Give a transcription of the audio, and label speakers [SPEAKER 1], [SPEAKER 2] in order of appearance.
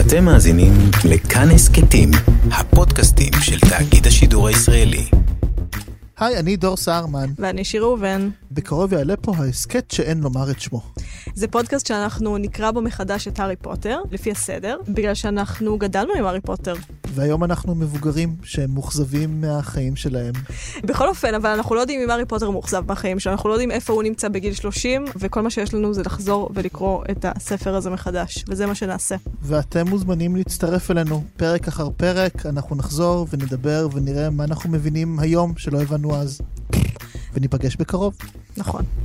[SPEAKER 1] אתם מאזינים לכאן הסכתים, הפודקאסטים של תאגיד השידור הישראלי.
[SPEAKER 2] היי, אני דור סהרמן.
[SPEAKER 3] ואני שיר ראובן.
[SPEAKER 2] בקרוב יעלה פה ההסכת שאין לומר את שמו.
[SPEAKER 3] זה פודקאסט שאנחנו נקרא בו מחדש את הארי פוטר, לפי הסדר, בגלל שאנחנו גדלנו עם הארי פוטר.
[SPEAKER 2] והיום אנחנו מבוגרים שהם מאוכזבים מהחיים שלהם.
[SPEAKER 3] בכל אופן, אבל אנחנו לא יודעים אם הארי פוטר מאוכזב מהחיים שלו, אנחנו לא יודעים איפה הוא נמצא בגיל 30, וכל מה שיש לנו זה לחזור ולקרוא את הספר הזה מחדש, וזה מה שנעשה.
[SPEAKER 2] ואתם מוזמנים להצטרף אלינו פרק אחר פרק, אנחנו נחזור ונדבר ונראה מה אנחנו מבינים היום שלא הבנו אז. וניפגש בקרוב.
[SPEAKER 3] נכון.